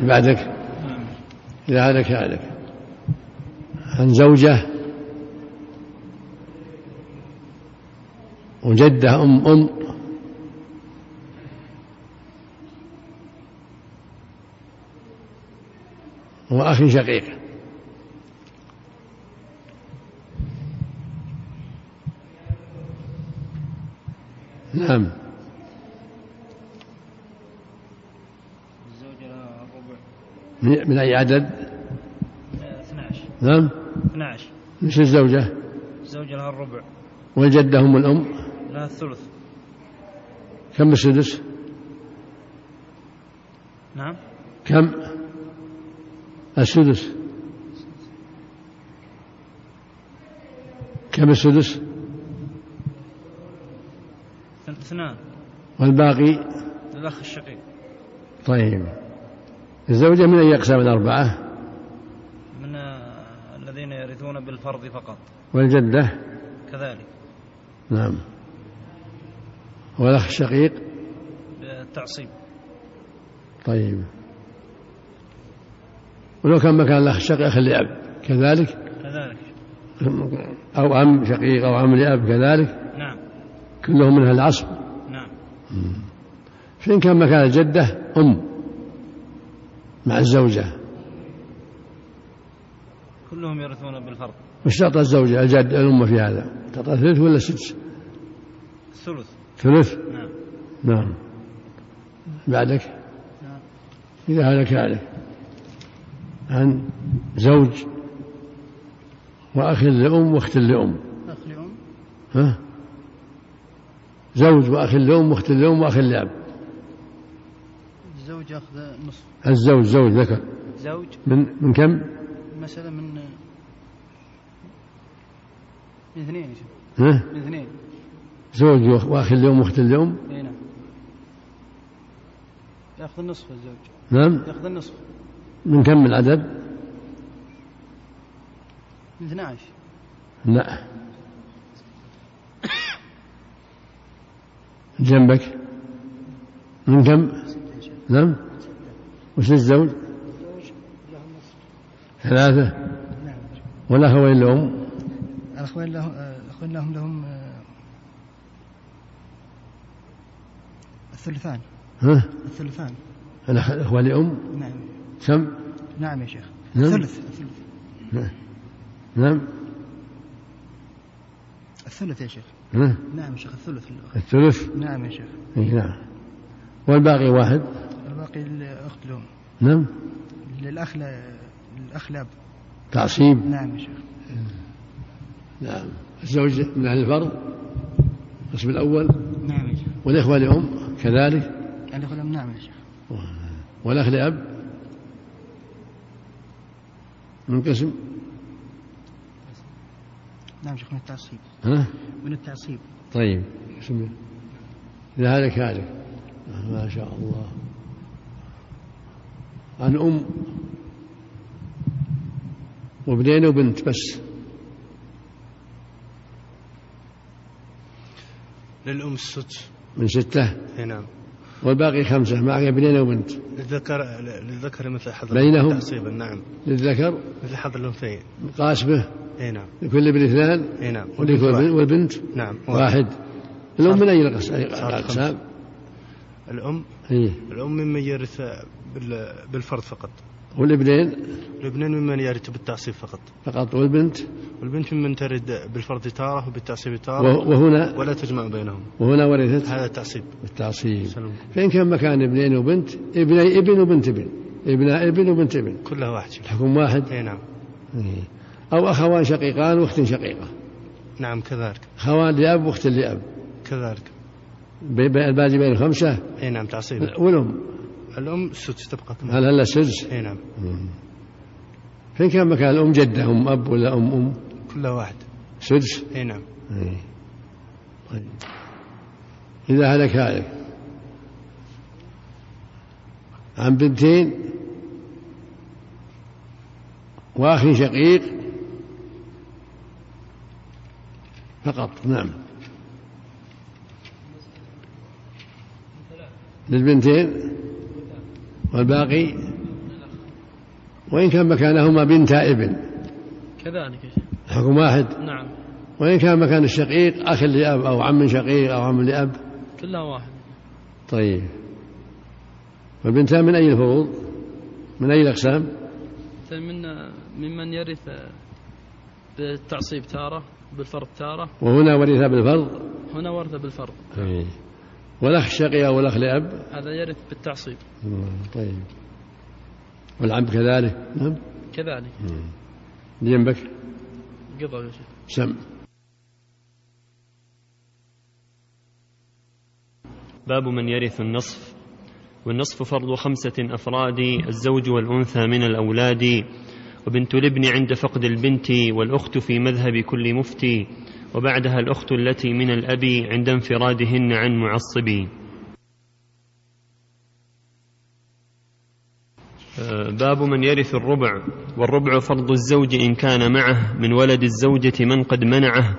بعدك إذا هلك هلك عن زوجة وجدة أم أم وأخ شقيق نعم الزوجة لها الربع من من أي عدد آه، 12 نعم 12 مثل الزوجة الزوجة لها الربع والجدة أم الأم لها الثلث كم السدس نعم كم السدس كم السدس اثنان والباقي للأخ الشقيق طيب الزوجة من أي أقسام الأربعة من آه، الذين يرثون بالفرض فقط والجدة كذلك نعم والأخ الشقيق بالتعصيب طيب ولو كان مكان الأخ الشقيق أخ لأب كذلك كذلك أو عم شقيق أو عم لأب كذلك نعم كلهم من العصب نعم فإن كان مكان الجدة أم مع الزوجة كلهم يرثون بالفرض وش تعطى الزوجة الجد الأم في هذا تعطى ثلث ولا سدس الثلث ثلث نعم نعم بعدك نعم. إذا هلك هلك عن زوج وأخ لأم وأخت لأم أخ لأم ها زوج وأخ لأم وأخت لأم وأخ لأب الزوج أخذ نصف الزوج زوج ذكر زوج من من كم؟ مثلا من آه، من اثنين يا شيخ ها من اثنين زوج وأخ- وأخ لأم وأخت لأم اي نعم ياخذ النصف الزوج نعم ياخذ النصف من كم العدد؟ من 12 لا جنبك من كم؟ نعم وش للزوج؟ ثلاثة نعم ولا هو إلا أم الأخوين لهم آه، الأخوين لهم لهم آه، الثلثان ها الثلثان الأخ- الأخوة لأم نعم كم؟ نعم يا شيخ نعم. الثلث الثلث نعم الثلث يا شيخ ها نعم يا شيخ الثلث للأخ الثلث نعم يا شيخ إي نعم والباقي واحد الباقي الأخت لهم نعم للأخ لا- للأخ لاب تعصيب نعم يا شيخ نعم الزوج من أهل الفرض القسم الأول نعم يا شيخ والإخوة لأم كذلك الأخ لهم نعم يا شيخ والأخ لأب من قسم نعم يا شيخ من التعصيب ها من التعصيب طيب بسم الله إذا هلك هلك ما شاء الله عن أم وابنين وبنت بس للأم السدس من ستة أي نعم والباقي خمسة مع ابنين وبنت للذكر للذكر مثل حظ بينهم؟ تعصيبا نعم للذكر مثل حظ الأنثيين قاسمة أي نعم لكل ابن اثنان أي نعم ولكل واحد. والبنت نعم واحد. واحد الأم من أي الأقس- صار الأقسام؟ الأم إيه الأم ممن يرث بال- بالفرض فقط والابنين الابنين ممن يرث بالتعصيب فقط فقط والبنت والبنت ممن ترد بالفرض تارة وبالتعصيب تارة وه- وهنا ولا تجمع بينهم وهنا ورثت هذا تعصيب بالتعصيب سلم. فإن كان مكان ابنين وبنت ابني ابن وبنت ابن ابناء ابن وبنت ابن كلها واحد شيخ. الحكم واحد أي نعم إيه. أو أخوان شقيقان وأخت شقيقة نعم كذلك أخوان لأب وأخت لأب كذلك بي- بي- الباقي بين الخمسة أي نعم تعصيب والأم الأم السدس تبقى كما- هل هلا سدس أي نعم فإن كان مكان الأم جدة أم أب ولا أم أم كلها واحد سدس أي نعم إيه. طيب إذا هلك هالك عن بنتين وأخ شقيق فقط نعم للبنتين والباقي وإن كان مكانهما بنت ابن كذلك يا شيخ حكم واحد نعم وإن كان مكان الشقيق أخ لأب أو عم شقيق أو عم لأب كلها واحد طيب والبنتان من أي الفروض؟ من أي الأقسام؟ مثلا من ممن يرث بالتعصيب تارة بالفرض تارة وهنا ورث بالفرض هنا ورثة بالفرض طيب. والأخ الشقيق أو الأخ لأب هذا يرث بالتعصيب طيب والعم كذلك نعم كذلك اللي جنبك قضى يا شيخ سم باب من يرث النصف والنصف فرض خمسة أفراد الزوج والأنثى من الأولاد وبنت الابن عند فقد البنت والأخت في مذهب كل مفتي وبعدها الأخت التي من الأب عند انفرادهن عن معصب آه، باب من يرث الربع والربع فرض الزوج إن كان معه من ولد الزوجة من قد منعه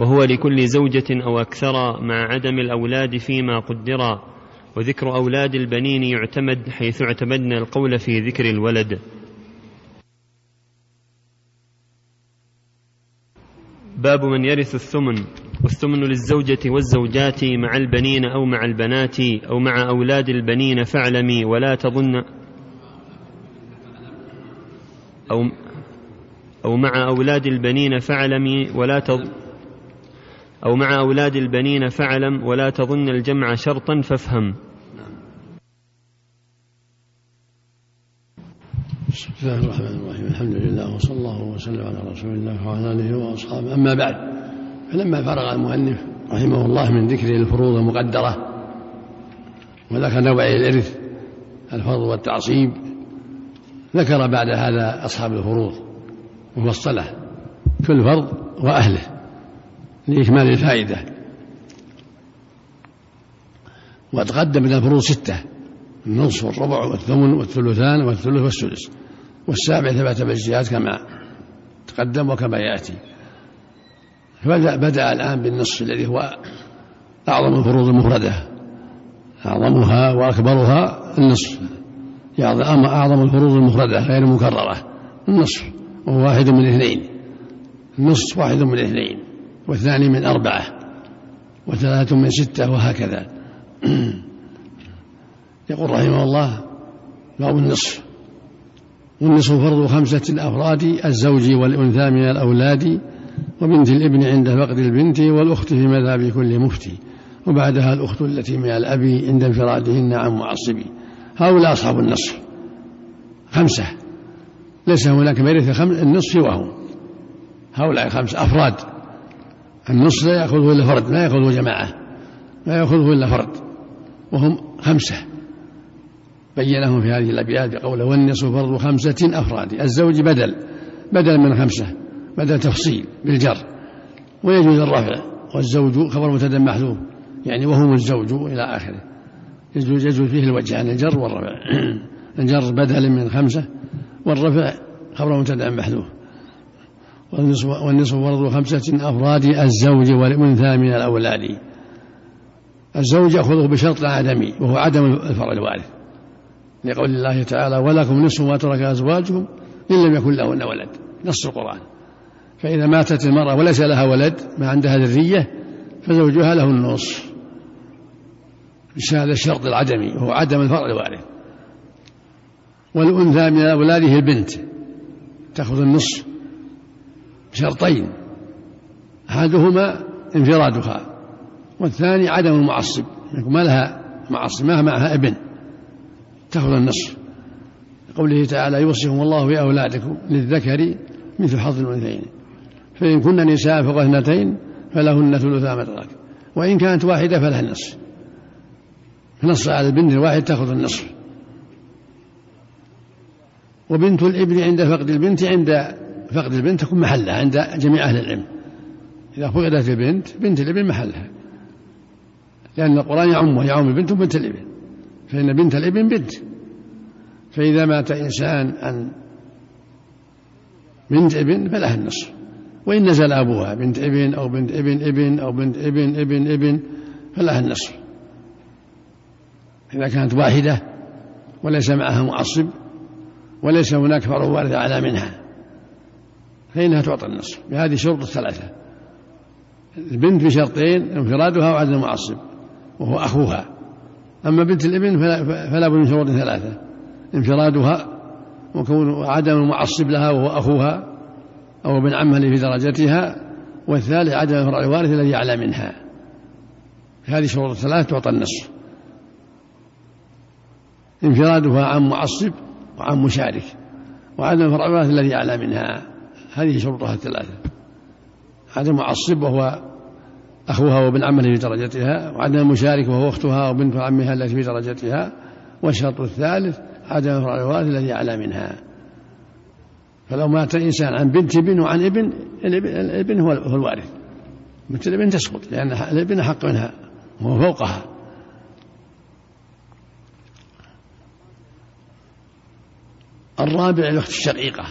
وهو لكل زوجة أو أكثر مع عدم الأولاد فيما قدرا وذكر أولاد البنين يعتمد حيث اعتمدنا القول في ذكر الولد باب من يرث الثمن والثمن للزوجة والزوجات مع البنين أو مع البنات أو مع أولاد البنين فاعلمي ولا تظن أو أو مع أولاد البنين فاعلمي ولا تظن أو مع أولاد البنين فاعلم ولا تظن الجمع شرطا فافهم بسم الله الرحمن الرحيم الحمد لله وصلى الله وسلم على رسول الله وعلى اله واصحابه اما بعد فلما فرغ المؤلف رحمه الله من ذكر الفروض المقدره وذكر نوع الارث الفرض والتعصيب ذكر بعد هذا اصحاب الفروض وفصله كل فرض واهله لاكمال الفائده وتقدم من الفروض سته النصف والربع والثمن والثلثان والثلث والسدس والسابع ثبت بالجهاد كما تقدم وكما ياتي فبدا بدا الان بالنصف الذي هو اعظم الفروض المفرده اعظمها واكبرها النصف يعني أما اعظم الفروض المفرده غير المكرره النصف وهو واحد من اثنين النصف واحد من اثنين والثاني من اربعه وثلاثه من سته وهكذا يقول رحمه الله باب النصف والنصف فرض خمسة الأفراد الزوج والأنثى من الأولاد وبنت الابن عند فقد البنت والأخت في مذهب كل مفتي وبعدها الأخت التي من الأب عند انفرادهن عن معصب هؤلاء أصحاب النصف خمسة ليس هناك من يرث الخم- النصف سواهم هؤلاء خمسة أفراد النصف لا يأخذه إلا فرد لا يأخذه جماعة لا يأخذه إلا فرد وهم خمسة بينهم في هذه الأبيات بقوله والنصف فرض خمسة أفراد الزوج بدل بدل من خمسة بدل تفصيل بالجر ويجوز الرفع والزوج خبر مبتدا محذوف يعني وهم الزوج إلى آخره يجوز يجوز فيه الوجهان الجر والرفع الجر بدل من خمسة والرفع خبر مبتدا محذوف والنصف والنصف فرض خمسة أفراد الزوج والأنثى من الأولاد الزوج يأخذه بشرط العدمي وهو عدم الفرع الوارث لقول الله تعالى ولكم نصف ما ترك أزواجكم إن لم يكن لهن ولد نص القرآن فإذا ماتت المرأة وليس لها ولد ما عندها ذرية فزوجها له النصف هذا الشرط العدمي وهو عدم الفرع الوارث والأنثى من أولاده البنت تأخذ النصف بشرطين أحدهما انفرادها والثاني عدم المعصب يكون ما لها معصب ما معها ابن تأخذ النصف قوله تعالى يوصيكم الله بأولادكم للذكر مثل حظ الأنثيين فإن كن نساء فوق اثنتين فلهن ثلثا ما ترك وإن كانت واحدة فلها النصف نص على البنت الواحد تأخذ النصف وبنت الابن عند فقد البنت عند فقد البنت تكون محلها عند جميع أهل العلم إذا فقدت البنت بنت الابن محلها لأن القرآن يعمه يعم البنت وبنت الابن فإن بنت الابن بنت فإذا مات إنسان عن بنت ابن فلها النصف وإن نزل أبوها بنت ابن أو بنت ابن ابن أو بنت ابن ابن ابن فلها النصف إذا كانت واحدة وليس معها معصب وليس هناك فرع وارث أعلى منها فإنها تعطى النصف بهذه شروط الثلاثة البنت بشرطين انفرادها وعدم معصب وهو أخوها أما بنت الابن فلا, فلا بد من شروط ثلاثة انفرادها وكون عدم المعصب لها وهو أخوها أو ابن عمها اللي في درجتها والثالث عدم فرع الوارث الذي أعلى منها هذه شروط الثلاث تعطى النصف انفرادها عن معصب وعن مشارك وعدم فرع الوارث الذي أعلى منها هذه شروطها الثلاثة عدم معصب وهو أخوها وابن عمها في درجتها وعدم مشارك وهو أختها وبنت عمها التي في درجتها والشرط الثالث عدم فرع الوارث الذي أعلى منها فلو مات إنسان عن بنت ابن وعن ابن الابن, الابن هو هو الوارث بنت الابن تسقط لأن الابن أحق منها وهو فوقها الرابع الأخت الشقيقة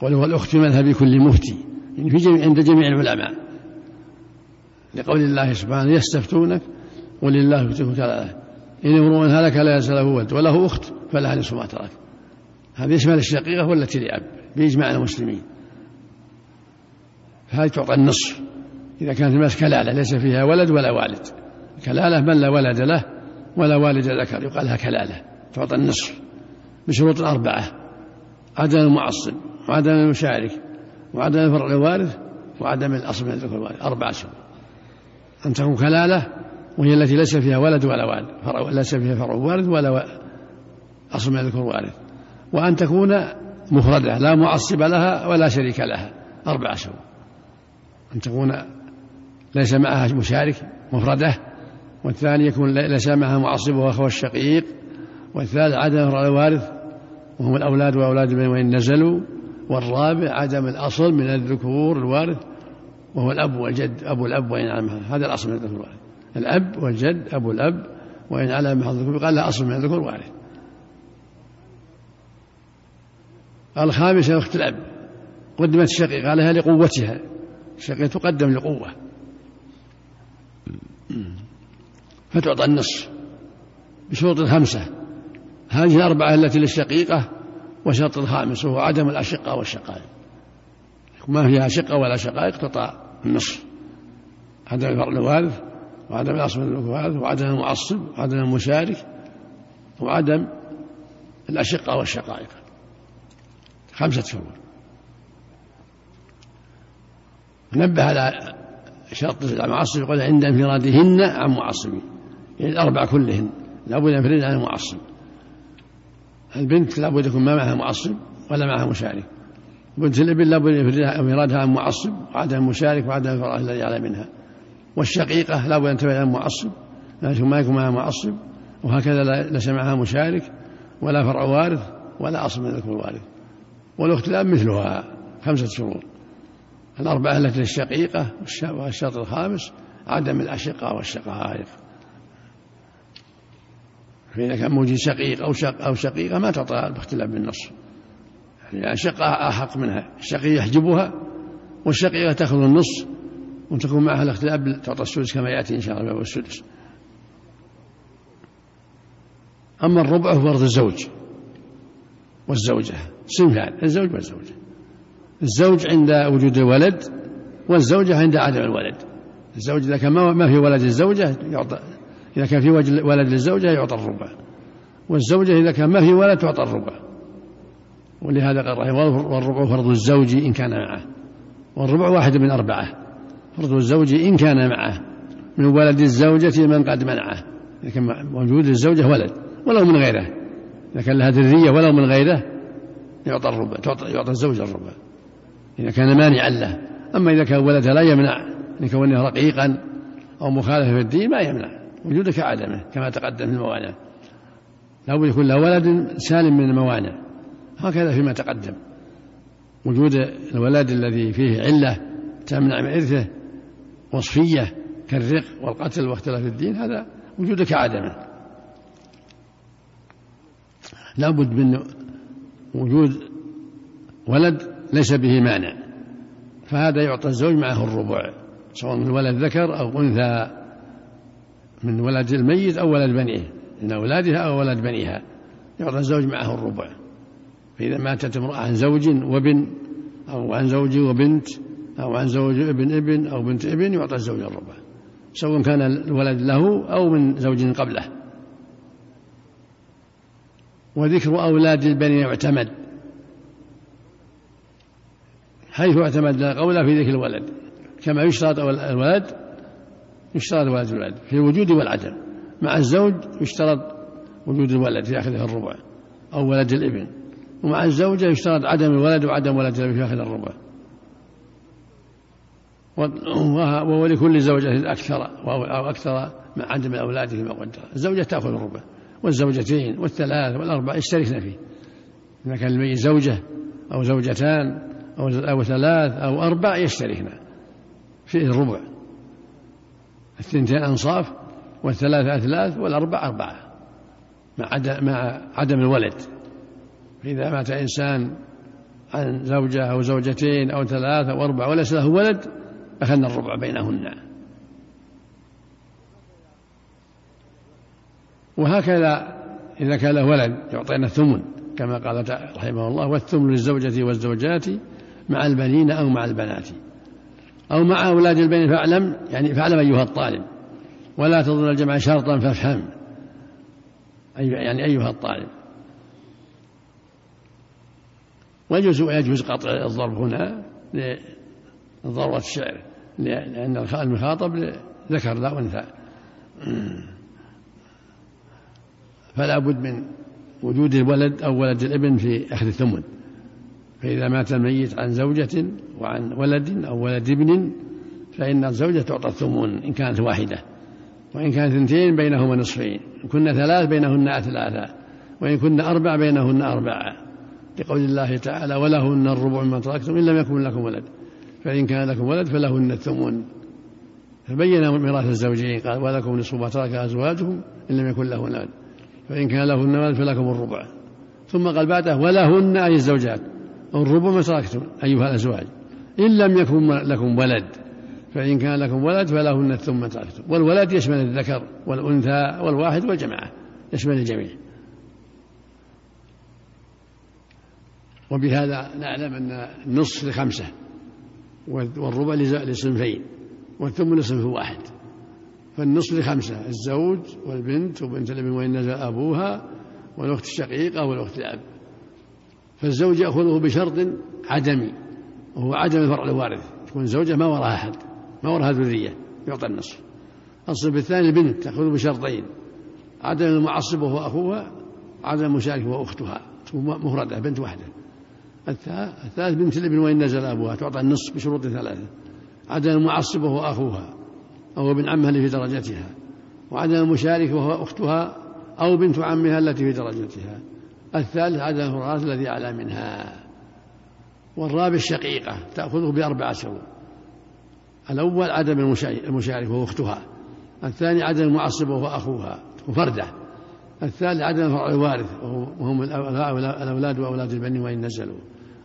قوله الأخت مذهب كل مفتي يعني في جميع عند جميع العلماء لقول الله سبحانه يستفتونك ولله يفتيكم كذلك إن امرؤ هلك لا يسأله ولد وله أخت فلها نصف ما ترك هذا يشمل الشقيقة والتي لأب بإجماع المسلمين فهذه تعطى النصف إذا كانت المرأة كلالة ليس فيها ولد ولا والد كلالة من لا ولد له ولا والد ذكر يقال لها كلالة تعطى النصف بشروط أربعة عدم المعصب وعدم المشارك وعدم فرع الوارث وعدم الأصل من الذكر الوارث أربعة شروط أن تكون كلالة وهي التي ليس فيها ولد ولا والد فرع ليس فيها فرع وارث ولا و... أصل من الذكر وارث وأن تكون مفردة لا معصب لها ولا شريك لها أربعة شروط أن تكون ليس معها مشارك مفردة والثاني يكون ليس معها معصب وأخوه الشقيق والثالث عدم فرع الوارث وهم الأولاد وأولاد من وإن نزلوا والرابع عدم الأصل من الذكور الوارث وهو الأب والجد أبو الأب وإن علم هذا الأصل من الذكور الوارث الأب والجد أبو الأب وإن علم أحد الذكور قال لا أصل من الذكور وارث الخامسة أخت الأب قدمت الشقيقة عليها لقوتها الشقيقة تقدم لقوة فتعطى النصف بشروط خمسة هذه الأربعة التي للشقيقة وشرط الخامس وهو عدم الأشقة والشقائق ما فيها شقة ولا شقائق تعطى النصف عدم الفرع الوارث وعدم الأصل من الوارث وعدم المعصب وعدم المشارك وعدم الأشقة والشقائق خمسة شروط نبه على شرط المعصب يقول عند انفرادهن عن معصبين يعني الأربع كلهن لابد ينفرد عن المعصب البنت لابد يكون ما معها معصب ولا معها مشارك بنت الابن لابد انفرادها عن معصب وعدم مشارك وعدم انفراد الذي اعلى منها والشقيقه لابد ان تبعد عن معصب لكن ما يكون معها معصب وهكذا لا- ليس معها مشارك ولا فرع وارث ولا اصل من ذكر وارث والاخت الاب مثلها خمسه شروط الاربعه التي للشقيقه والش- والشرط الخامس عدم الاشقاء والشقائق فإذا كان موجود شقيق أو شق أو شقيقة ما تعطى الأخت الأب بالنص يعني الشقة أحق منها الشقي يحجبها والشقيقة تأخذ النص وتكون معها الأخت الأب تعطى السدس كما يأتي إن شاء الله باب السدس أما الربع هو فرض الزوج والزوجة صنفان الزوج والزوجة الزوج عند وجود الولد والزوجة عند عدم الولد الزوج إذا كان ما ما في ولد الزوجة يعطى إذا كان في وجه- ولد للزوجة يعطى الربع والزوجة إذا كان ما في ولد تعطى الربع ولهذا قال رحمه الله والربع فرض الزوج إن كان معه والربع واحد من أربعة فرض الزوج إن كان معه من ولد الزوجة من قد منعه إذا كان موجود للزوجة ولد ولو من غيره إذا كان لها ذرية ولو من غيره يعطى الربع تعطى, يعطى الزوج الربع إذا كان مانعا له أما إذا كان ولدها لا يمنع لكونه رقيقا أو مخالفة في الدين ما يمنع وجوده كعدمه كما تقدم في الموانع لابد يكون له ولد سالم من الموانع هكذا فيما تقدم وجود الولد الذي فيه علة تمنع من إرثه وصفية كالرق والقتل واختلاف الدين هذا وجوده كعدمه لابد من وجود ولد ليس به مانع فهذا يعطى الزوج معه الربع سواء من ولد ذكر أو أنثى من ولد الميت أو ولد بنيه من أولادها أو ولد بنيها يرث الزوج معه الربع فإذا ماتت امرأة عن زوج وابن أو عن زوج وبنت أو عن زوج ابن ابن أو بنت ابن يعطى الزوج الربع سواء كان الولد له أو من زوج قبله وذكر أولاد البني يعتمد حيث اعتمد لا قول في ذكر الولد كما يشترط الولد يشترط ولد الولد في الوجود والعدم مع الزوج يشترط وجود الولد في آخره الربع أو ولد الابن ومع الزوجة يشترط عدم الولد وعدم ولد الابن في آخر الربع و- ولكل زوجة أكثر أو أكثر مع عدم الأولاد فيما قدر الزوجة تأخذ الربع والزوجتين والثلاث والأربع يشتركن فيه إذا كان الميت زوجة أو زوجتان أو أو ثلاث أو أربع يشتركن فيه الربع الثنتين أنصاف والثلاثة أثلاث والأربع أربعة مع عدم, مع عدم الولد فإذا مات إنسان عن زوجة أو زوجتين أو ثلاثة أو أربعة وليس له ولد أخذنا الربع بينهن وهكذا إذا كان له ولد يعطينا الثمن كما قال تعالى رحمه الله والثمن للزوجة والزوجات مع البنين أو مع البنات أو مع أولاد البنين فاعلم يعني فاعلم أيها الطالب ولا تظن الجمع شرطا فافهم أي- يعني أيها الطالب ويجوز يجوز قطع الضرب هنا لضرورة الشعر لأن المخاطب ذكر لا أنثى فلا بد من وجود الولد أو ولد الابن في أخذ الثمن فإذا مات الميت عن زوجة وعن ولد أو ولد ابن فإن الزوجة تعطى الثمن إن كانت واحدة وإن كانت اثنتين بينهما نصفين إن كن ثلاث بينهن ثلاثة وإن كن أربع بينهن أربعة لقول الله تعالى ولهن الربع مما تركتم إن لم يكن لكم ولد فإن كان لكم ولد فلهن الثمن فبين ميراث الزوجين قال ولكم نصف ما ترك أزواجكم إن لم يكن لهن ولد فإن كان لهن ولد فلكم الربع ثم قال بعده ولهن أي الزوجات الربع ما تركتم أيها الأزواج إن لم يكن لكم ولد فإن كان لكم ولد فلهن الثم ما تركتم والولد يشمل الذكر والأنثى والواحد والجماعة يشمل الجميع وبهذا نعلم أن النصف لخمسة والربع لز- لصنفين والثمن لصنف واحد فالنصف لخمسة الزوج والبنت وبنت الابن وإن نزل أبوها والأخت الشقيقة والأخت الأب فالزوج يأخذه بشرط عدمي وهو عدم الفرع الوارث تكون الزوجة ما وراها أحد ما وراها ذرية يعطى النصف الصنف الثاني البنت تأخذه بشرطين عدم المعصب وهو أخوها عدم المشارك وهو أختها تكون مفردة بنت واحدة الثا- الثالث بنت الابن وإن نزل أبوها تعطى النصف بشروط ثلاثة عدم المعصب وهو أخوها أو ابن عمها اللي في درجتها وعدم المشارك وهو أختها أو بنت عمها التي في درجتها الثالث عدم الوراث الذي أعلى منها والرابع الشقيقة تأخذه بأربعة شهور الأول عدم المشا- المشارك وهو أختها الثاني عدم المعصب وهو أخوها وفردة الثالث عدم الفرع الوارث وهو- وهم الأو- الأولاد وأولاد البني وإن نزلوا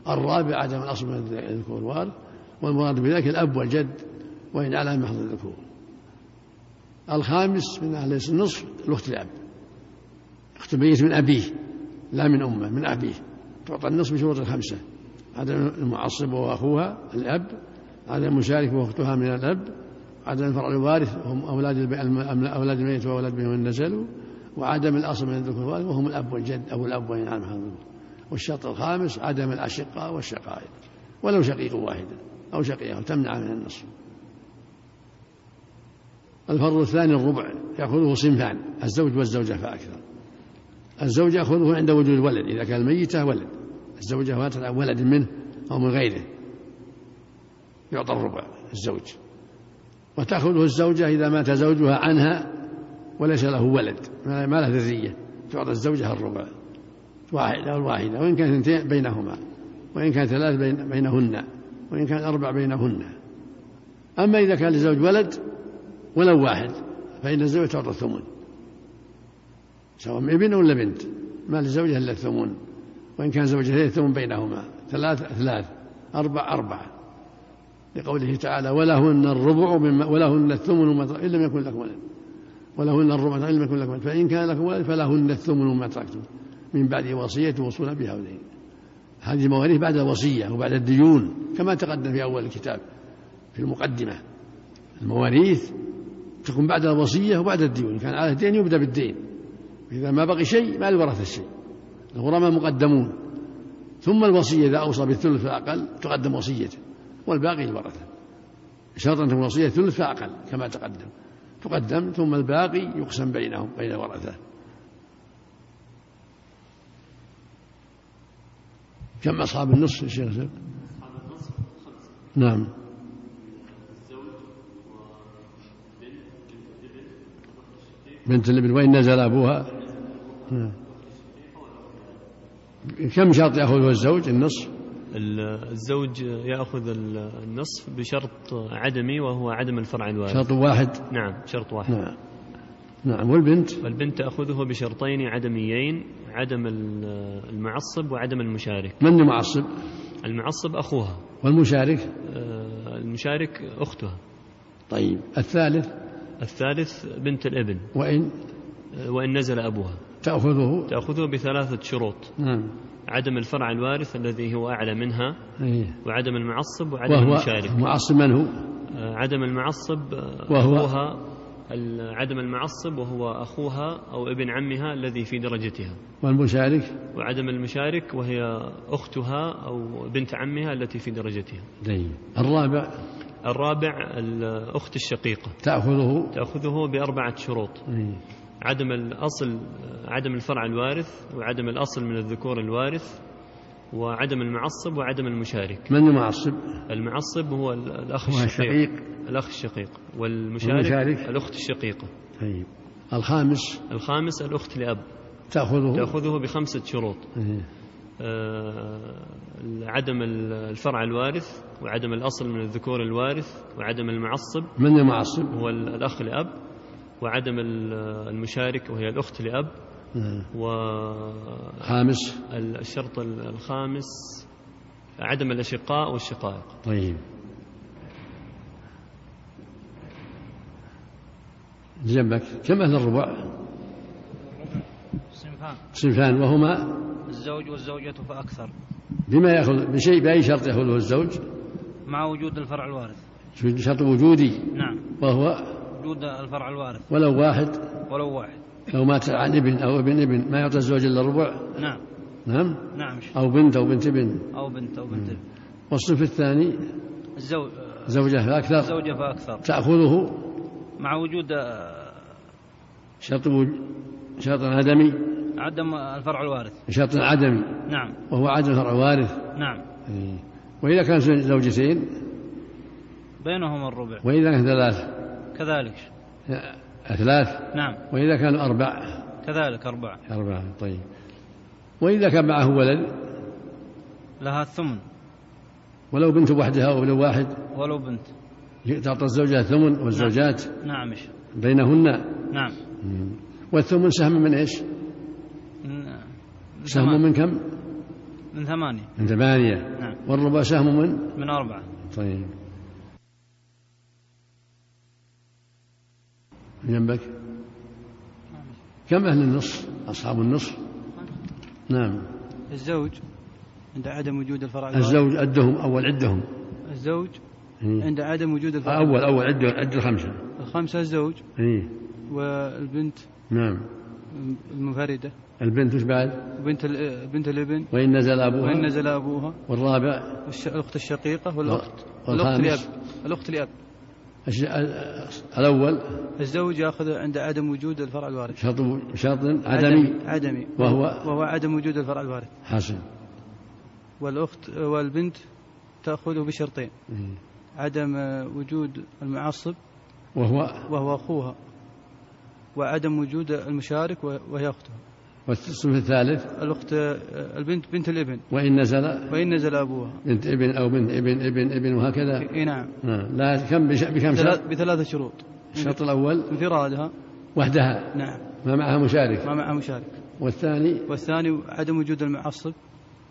الرابع عدم الأصل من الذكور الوارث والمراد بذلك الأب والجد وإن على محض الذكور الخامس من أهل النصف الأخت الأب أخت الميت من أبيه لا من أمه من أبيه تعطى النصف بشروط الخمسة عدم المعصب وهو أخوها الأب عدم المشارك وأختها من الأب عدم الفرع الوارث وهم أولاد الب- الم- الم- أولاد الميت وأولاد من نزلوا وعدم الأصل من الذكور والوارث وهم الأب والجد أو الأب وإن على محض الذكور والشرط الخامس عدم الأشقاء والشقائق ولو شقيق واحد أو شقيقة تمنع من النصف الفرض الثاني الربع يأخذه صنفان الزوج والزوجة فأكثر الزوج يأخذه عند وجود الولد إذا كان ميتة ولد الزوجة ماتت عن ولد منه أو من غيره يعطى الربع الزوج وتأخذه الزوجة إذا مات زوجها عنها وليس له ولد ما ما له ذرية تعطى الزوجة الربع واحد أو الواحدة وإن كان اثنتين بينهما وإن كان ثلاث بين بينهن وإن كان أربع بينهن أما إذا كان للزوج ولد ولو واحد فإن الزوجة تعطى الثمن سواء ابن ولا بنت ما للزوجة إلا الثمن وإن كان زوجتين الثمن بينهما ثلاث ثلاث أربع أربع لقوله تعالى ولهن الربع مما ولهن الثمن ما ترك- إن لم يكن لكم ولد ولهن الربع إن لم يكن لكم ولد فإن كان لكم ولد فلهن الثمن ما تركتم من بعد وصية وصولا بحولين هذه المواريث بعد الوصية وبعد الديون كما تقدم في أول الكتاب في المقدمة المواريث تكون بعد الوصية وبعد الديون كان على الدين يبدأ بالدين إذا ما بقي شيء ما الورثة الشيء الغرماء مقدمون ثم الوصية إذا أوصى بالثلث فأقل تقدم وصيته والباقي الورثة شرط أن تكون الوصية ثلث فأقل كما تقدم تقدم ثم الباقي يقسم بينهم بين الورثة كم أصحاب النص يا شيخ أصحاب النص نعم بنت الابن وإن نزل أبوها نعم. كم شرط يأخذه الزوج النصف ال- الزوج يأخذ ال- النصف بشرط عدمي وهو عدم الفرع الوارث شرط واحد نعم شرط واحد نعم نعم والبنت والبنت تأخذه بشرطين عدميين عدم ال- المعصب وعدم المشارك من المعصب المعصب أخوها والمشارك آه، المشارك أختها طيب الثالث الثالث بنت الابن وإن آه، وإن نزل أبوها تأخذه تأخذه بثلاثة شروط نعم عدم الفرع الوارث الذي هو أعلى منها إيه. وعدم المعصب وعدم وهو المشارك معصب من هو آه، عدم المعصب آه، وهو- أخوها ال- عدم المعصب وهو أخوها أو ابن عمها الذي في درجتها والمشارك وعدم المشارك وهي أختها أو بنت عمها التي في درجتها طيب الرابع الرابع الأخت الشقيقة تأخذه تأخذه بأربعة شروط إيه. عدم الأصل عدم الفرع الوارث وعدم الأصل من الذكور الوارث وعدم المعصب وعدم المشارك من المعصب المعصب هو ال- الأخ هو الشقيق شقيق الأخ الشقيق والمشارك والمشارك؟ الأخت الشقيقة طيب الخامس الخامس الأخت لأب تأخذه تأخذه بخمسة شروط إيه. آه، عدم ال- الفرع الوارث وعدم الأصل من الذكور الوارث وعدم المعصب من المعصب هو ال- الأخ لأب وعدم ال- المشارك وهي الأخت لأب نعم. و خامس الشرط الخامس عدم الأشقاء والشقائق طيب جنبك كم أهل الربع صنفان صنفان وهما الزوج والزوجة فأكثر بما ياخذ بشيء باي شرط ياخذه الزوج مع وجود الفرع الوارث شرط وجودي نعم وهو وجود الفرع الوارث ولو واحد ولو واحد لو مات عن ابن او ابن ابن ما يعطى الزوج الا ربع نعم نعم نعم شيخ. او بنت او بنت ابن أو بنت أو بنت ابن. والصنف الثاني الزوج زوجه فاكثر الزوجة فأكثر تاخذه مع وجود آه، شرط وج- شرط عدمي عدم الفرع الوارث شرط عدمي نعم وهو عدم فرع وارث نعم إيه. واذا كان زوج- زوجتين بينهما الربع واذا كان ثلاث كذلك شيخ. آه، ثلاث نعم واذا كانوا اربع كذلك أربعة اربعه طيب واذا كان معه ولد لها الثمن ولو بنت وحدها او ولو واحد ولو بنت تعطى الزوجة الثمن والزوجات نعم شيخ. بينهن نعم والثمن سهم من ايش؟ من- آه، من سهم ثمان- من كم؟ من ثمانية من ثمانية نعم والربع سهم من؟ من أربعة طيب جنبك كم أهل النص؟ أصحاب النص؟ نعم الزوج عند عدم وجود الفرع الوارث الزوج عدهم أول عدهم الزوج إيه. عند عدم وجود الفرع أول أول عدة عدة خمسة الخمسة الزوج إيه والبنت نعم المنفردة البنت وش بعد؟ بنت ال- بنت الابن وإن نزل وإن أبوها نزل أبوها والرابع والش- الأخت الشقيقة والأخت الأخت والخامس لأب الأخت لأب الش- ال- الأول الزوج يأخذ عند عدم وجود الفرع الوارث شرط شرط عدمي عدمي وهو وهو عدم وجود الفرع الوارث حسن والأخت والبنت تأخذه بشرطين عدم آه، وجود المعصب وهو وهو أخوها وعدم وجود المشارك وهي أخته والصنف الثالث الأخت آه، البنت بنت الابن وإن نزل وإن نزل أبوها بنت ابن أو بنت ابن ابن ابن وهكذا إي نعم نعم. لا كم بش- بكم بثلاث- شرط؟ بثلاثة شروط الشرط الأول انفرادها وحدها نعم ما معها مشارك ما معها مشارك والثاني والثاني عدم وجود المعصب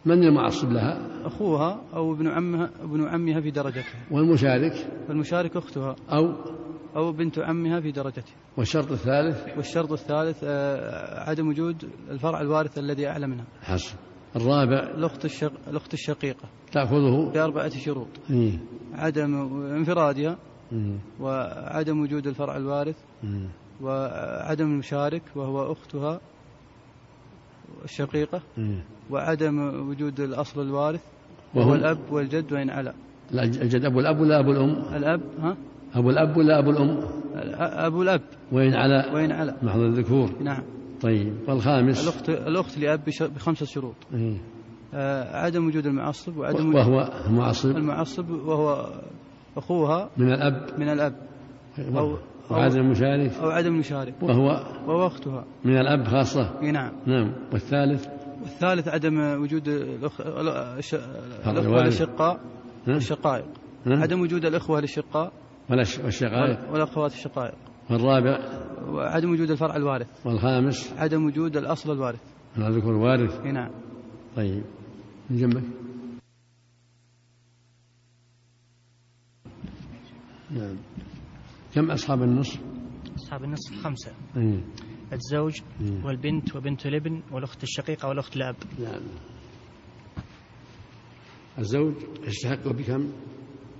من المعصب لها أخوها أو ابن عمها ابن عمها في درجتها والمشارك والمشارك أختها أو أو بنت عمها في درجته والشرط الثالث والشرط الثالث آه، عدم وجود الفرع الوارث الذي أعلى منها حصل الرابع الأخت الشق... الأخت الشقيقة تأخذه بأربعة شروط إيه. عدم انفرادها مم. وعدم وجود الفرع الوارث مم. وعدم المشارك وهو أختها الشقيقة مم. وعدم وجود الأصل الوارث وهو- وهو الأب والجد وإن علا لا الجد أبو الأب ولا أبو الأم الأب ها أبو الأب ولا أبو الأم الأ- أبو الأب وين على وإن علا محض الذكور نعم طيب والخامس الأخت الأخت لأب بش- بخمسة شروط إيه. آه، عدم وجود المعصب وعدم وجود وهو معصب المعصب وهو أخوها من الأب من الأب أو- وعدم المشارك أو عدم المشارك وهو وهو أختها من الأب خاصة إي نعم نعم والثالث والثالث عدم وجود الأخ... الأ- الأخوة الوالد. الأشقاء ها؟ الشقائق ها؟ عدم وجود الأخوة الأشقاء ولا الش- نعم. والشقائق والأخوات الشقائق والرابع وعدم وجود الفرع الوارث والخامس عدم وجود الأصل الوارث من الذكور وارث إي نعم طيب من جنبك نعم كم أصحاب النص؟ أصحاب النصف خمسة إيه. الزوج مم. والبنت وبنت الابن والأخت الشقيقة والأخت الأب نعم الزوج يستحق بكم؟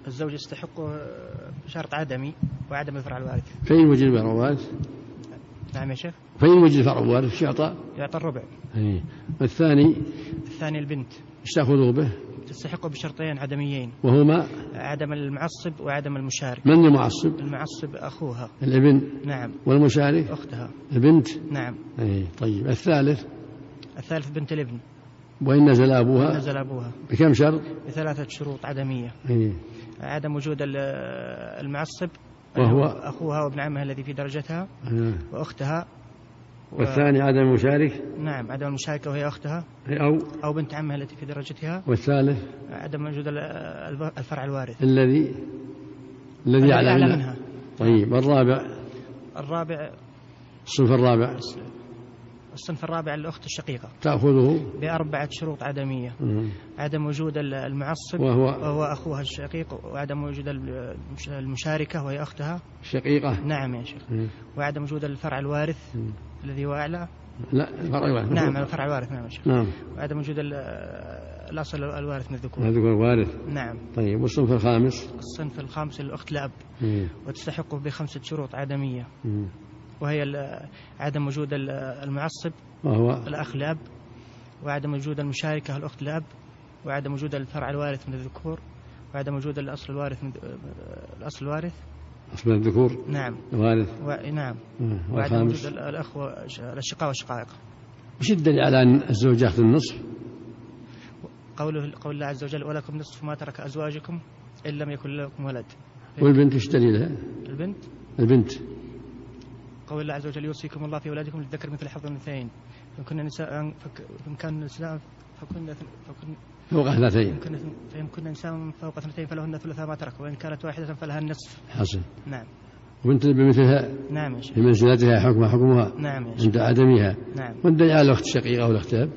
الزوج يستحقه آه، شرط عدمي وعدم الفرع الوارث فإن وجد فرع وارث نعم يا شيخ فإن وجد فرع وارث يعطى يعطى الربع إيه. والثاني الثاني البنت ايش تأخذه به؟ تستحقه بشرطين عدميين وهما عدم المعصب وعدم المشارك من المعصب؟ المعصب أخوها الابن نعم والمشارك أختها البنت نعم أي طيب الثالث الثالث بنت الابن وإن نزل أبوها نزل أبوها بكم شرط؟ طيب. بثلاثة شروط عدمية أي عدم وجود ال- المعصب وهو؟ أخوها وابن عمها الذي في درجتها آه. وأختها و- والثاني عدم المشارك نعم عدم المشاركة وهي أختها أو أو بنت عمها التي في درجتها والثالث عدم وجود ال- الب- الفرع الوارث الذي الذي الذي يعلم أعلى منها. منها طيب الرابع الرابع الصنف الرابع الصنف الرابع الأخت الشقيقة تأخذه بأربعة شروط عدمية مم. عدم وجود ال- المعصب وهو وهو أخوها الشقيق وعدم وجود ال- المشاركة وهي أختها شقيقة نعم يا شيخ مم. وعدم وجود الفرع الوارث مم. الذي هو أعلى لا الفرع واحد نعم الفرع الوارث نعم يا شيخ نعم وعدم وجود ال- الأصل الوارث من الذكور هذا هو الوارث نعم طيب والصنف الخامس الصنف الخامس الأخت الأب مم. نعم. وتستحقه بخمسة شروط عدمية مم. وهي ال- عدم وجود ال- المعصب وهو الأخ الأب وعدم وجود المشاركة الأخت الأب وعدم وجود الفرع الوارث من الذكور وعدم وجود الأصل الوارث من الأصل الوارث أصل الذكور نعم وارث و... نعم مم. وعدم وجود والخامس ال- الأخ والش- الأشقاء والشقائق وش الدليل على أن الزوج يأخذ النصف؟ قوله قول الله عز وجل ولكم نصف ما ترك أزواجكم إن لم يكن لكم ولد إيه. والبنت وش دليلها؟ البنت البنت قول الله عز وجل يوصيكم الله في أولادكم للذكر مثل حظ الأنثيين فإن كن نساء فك... فإن كان نساء فكن فكن فوق اثنتين فإن كن- فإن كن نساء فوق اثنتين فلهن ثلث ما ترك وإن كانت واحدة فلها النصف حصل نعم وبنت بمثلها نعم يا شيخ في منزلتها حكم حكمها نعم يا شيخ عند عدمها نعم والدليل على الاخت الشقيقه والاخت الاب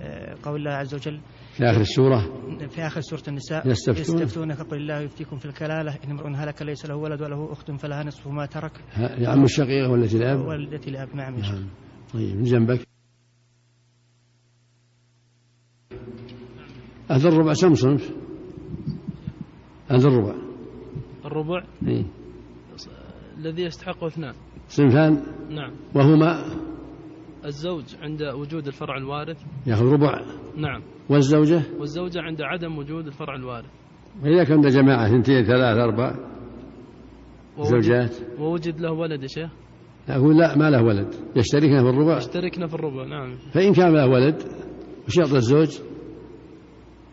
آه، قول الله عز وجل في اخر السوره في آخر سورة النساء يستفتون. يستفتونك قل الله يفتيكم في الكلالة إن امرؤ هلك ليس له ولد وله أخت فلها نصف ما ترك ها- يا عم الشقيقه والتي الاب والتي لأب نعم يا شيخ نعم طيب من جنبك هذا الربع كم صنف؟ هذا الربع الربع إيه. الذي يستحقه اثنان صنفان نعم وهما الزوج عند وجود الفرع الوارث ياخذ ربع نعم والزوجه والزوجة عند عدم وجود الفرع الوارث واذا كان ده جماعه اثنتين ثلاث اربع ووجد- زوجات ووجد له ولد يا شيخ اقول لا ما له ولد يشتركن في الربع اشتركنا في الربع نعم فإن كان له ولد وش يعطي الزوج؟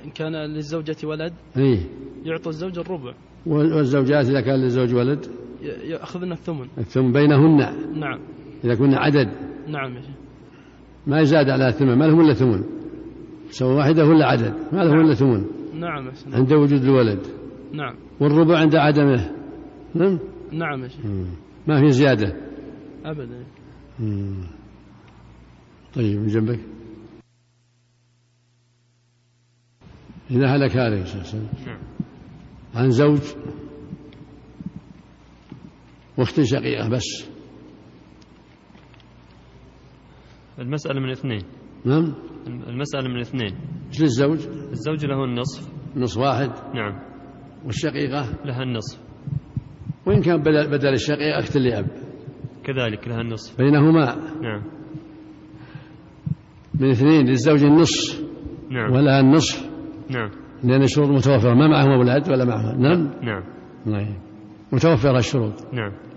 إن كان للزوجة ولد إيه يعطى الزوج الربع والزوجات إذا كان للزوج ولد ي- يأخذن الثمن ثم بينهن نعم إذا كنا عدد نعم يا شيخ ما يزاد على الثمن ما لهم إلا ثمن سواء واحدة ولا عدد ما لهم إلا ثمن نعم يا شيخ عند وجود الولد نعم والربع عند عدمه نعم نعم يا شيخ مم. ما في زيادة أبدا مم. طيب من جنبك إذا هلك هذا يا شيخ نعم. عن زوج واخت شقيقة بس المسألة من اثنين نعم المسألة من اثنين مثل الزوج الزوج له النصف نص واحد نعم والشقيقة لها النصف وإن كان بدل, بدل الشقيقة أخت لأب كذلك لها النصف بينهما نعم من اثنين للزوج النص نعم ولها النصف نعم لأن الشروط متوفرة ما معهم أولاد ولا معها نعم نعم طيب متوفرة الشروط نعم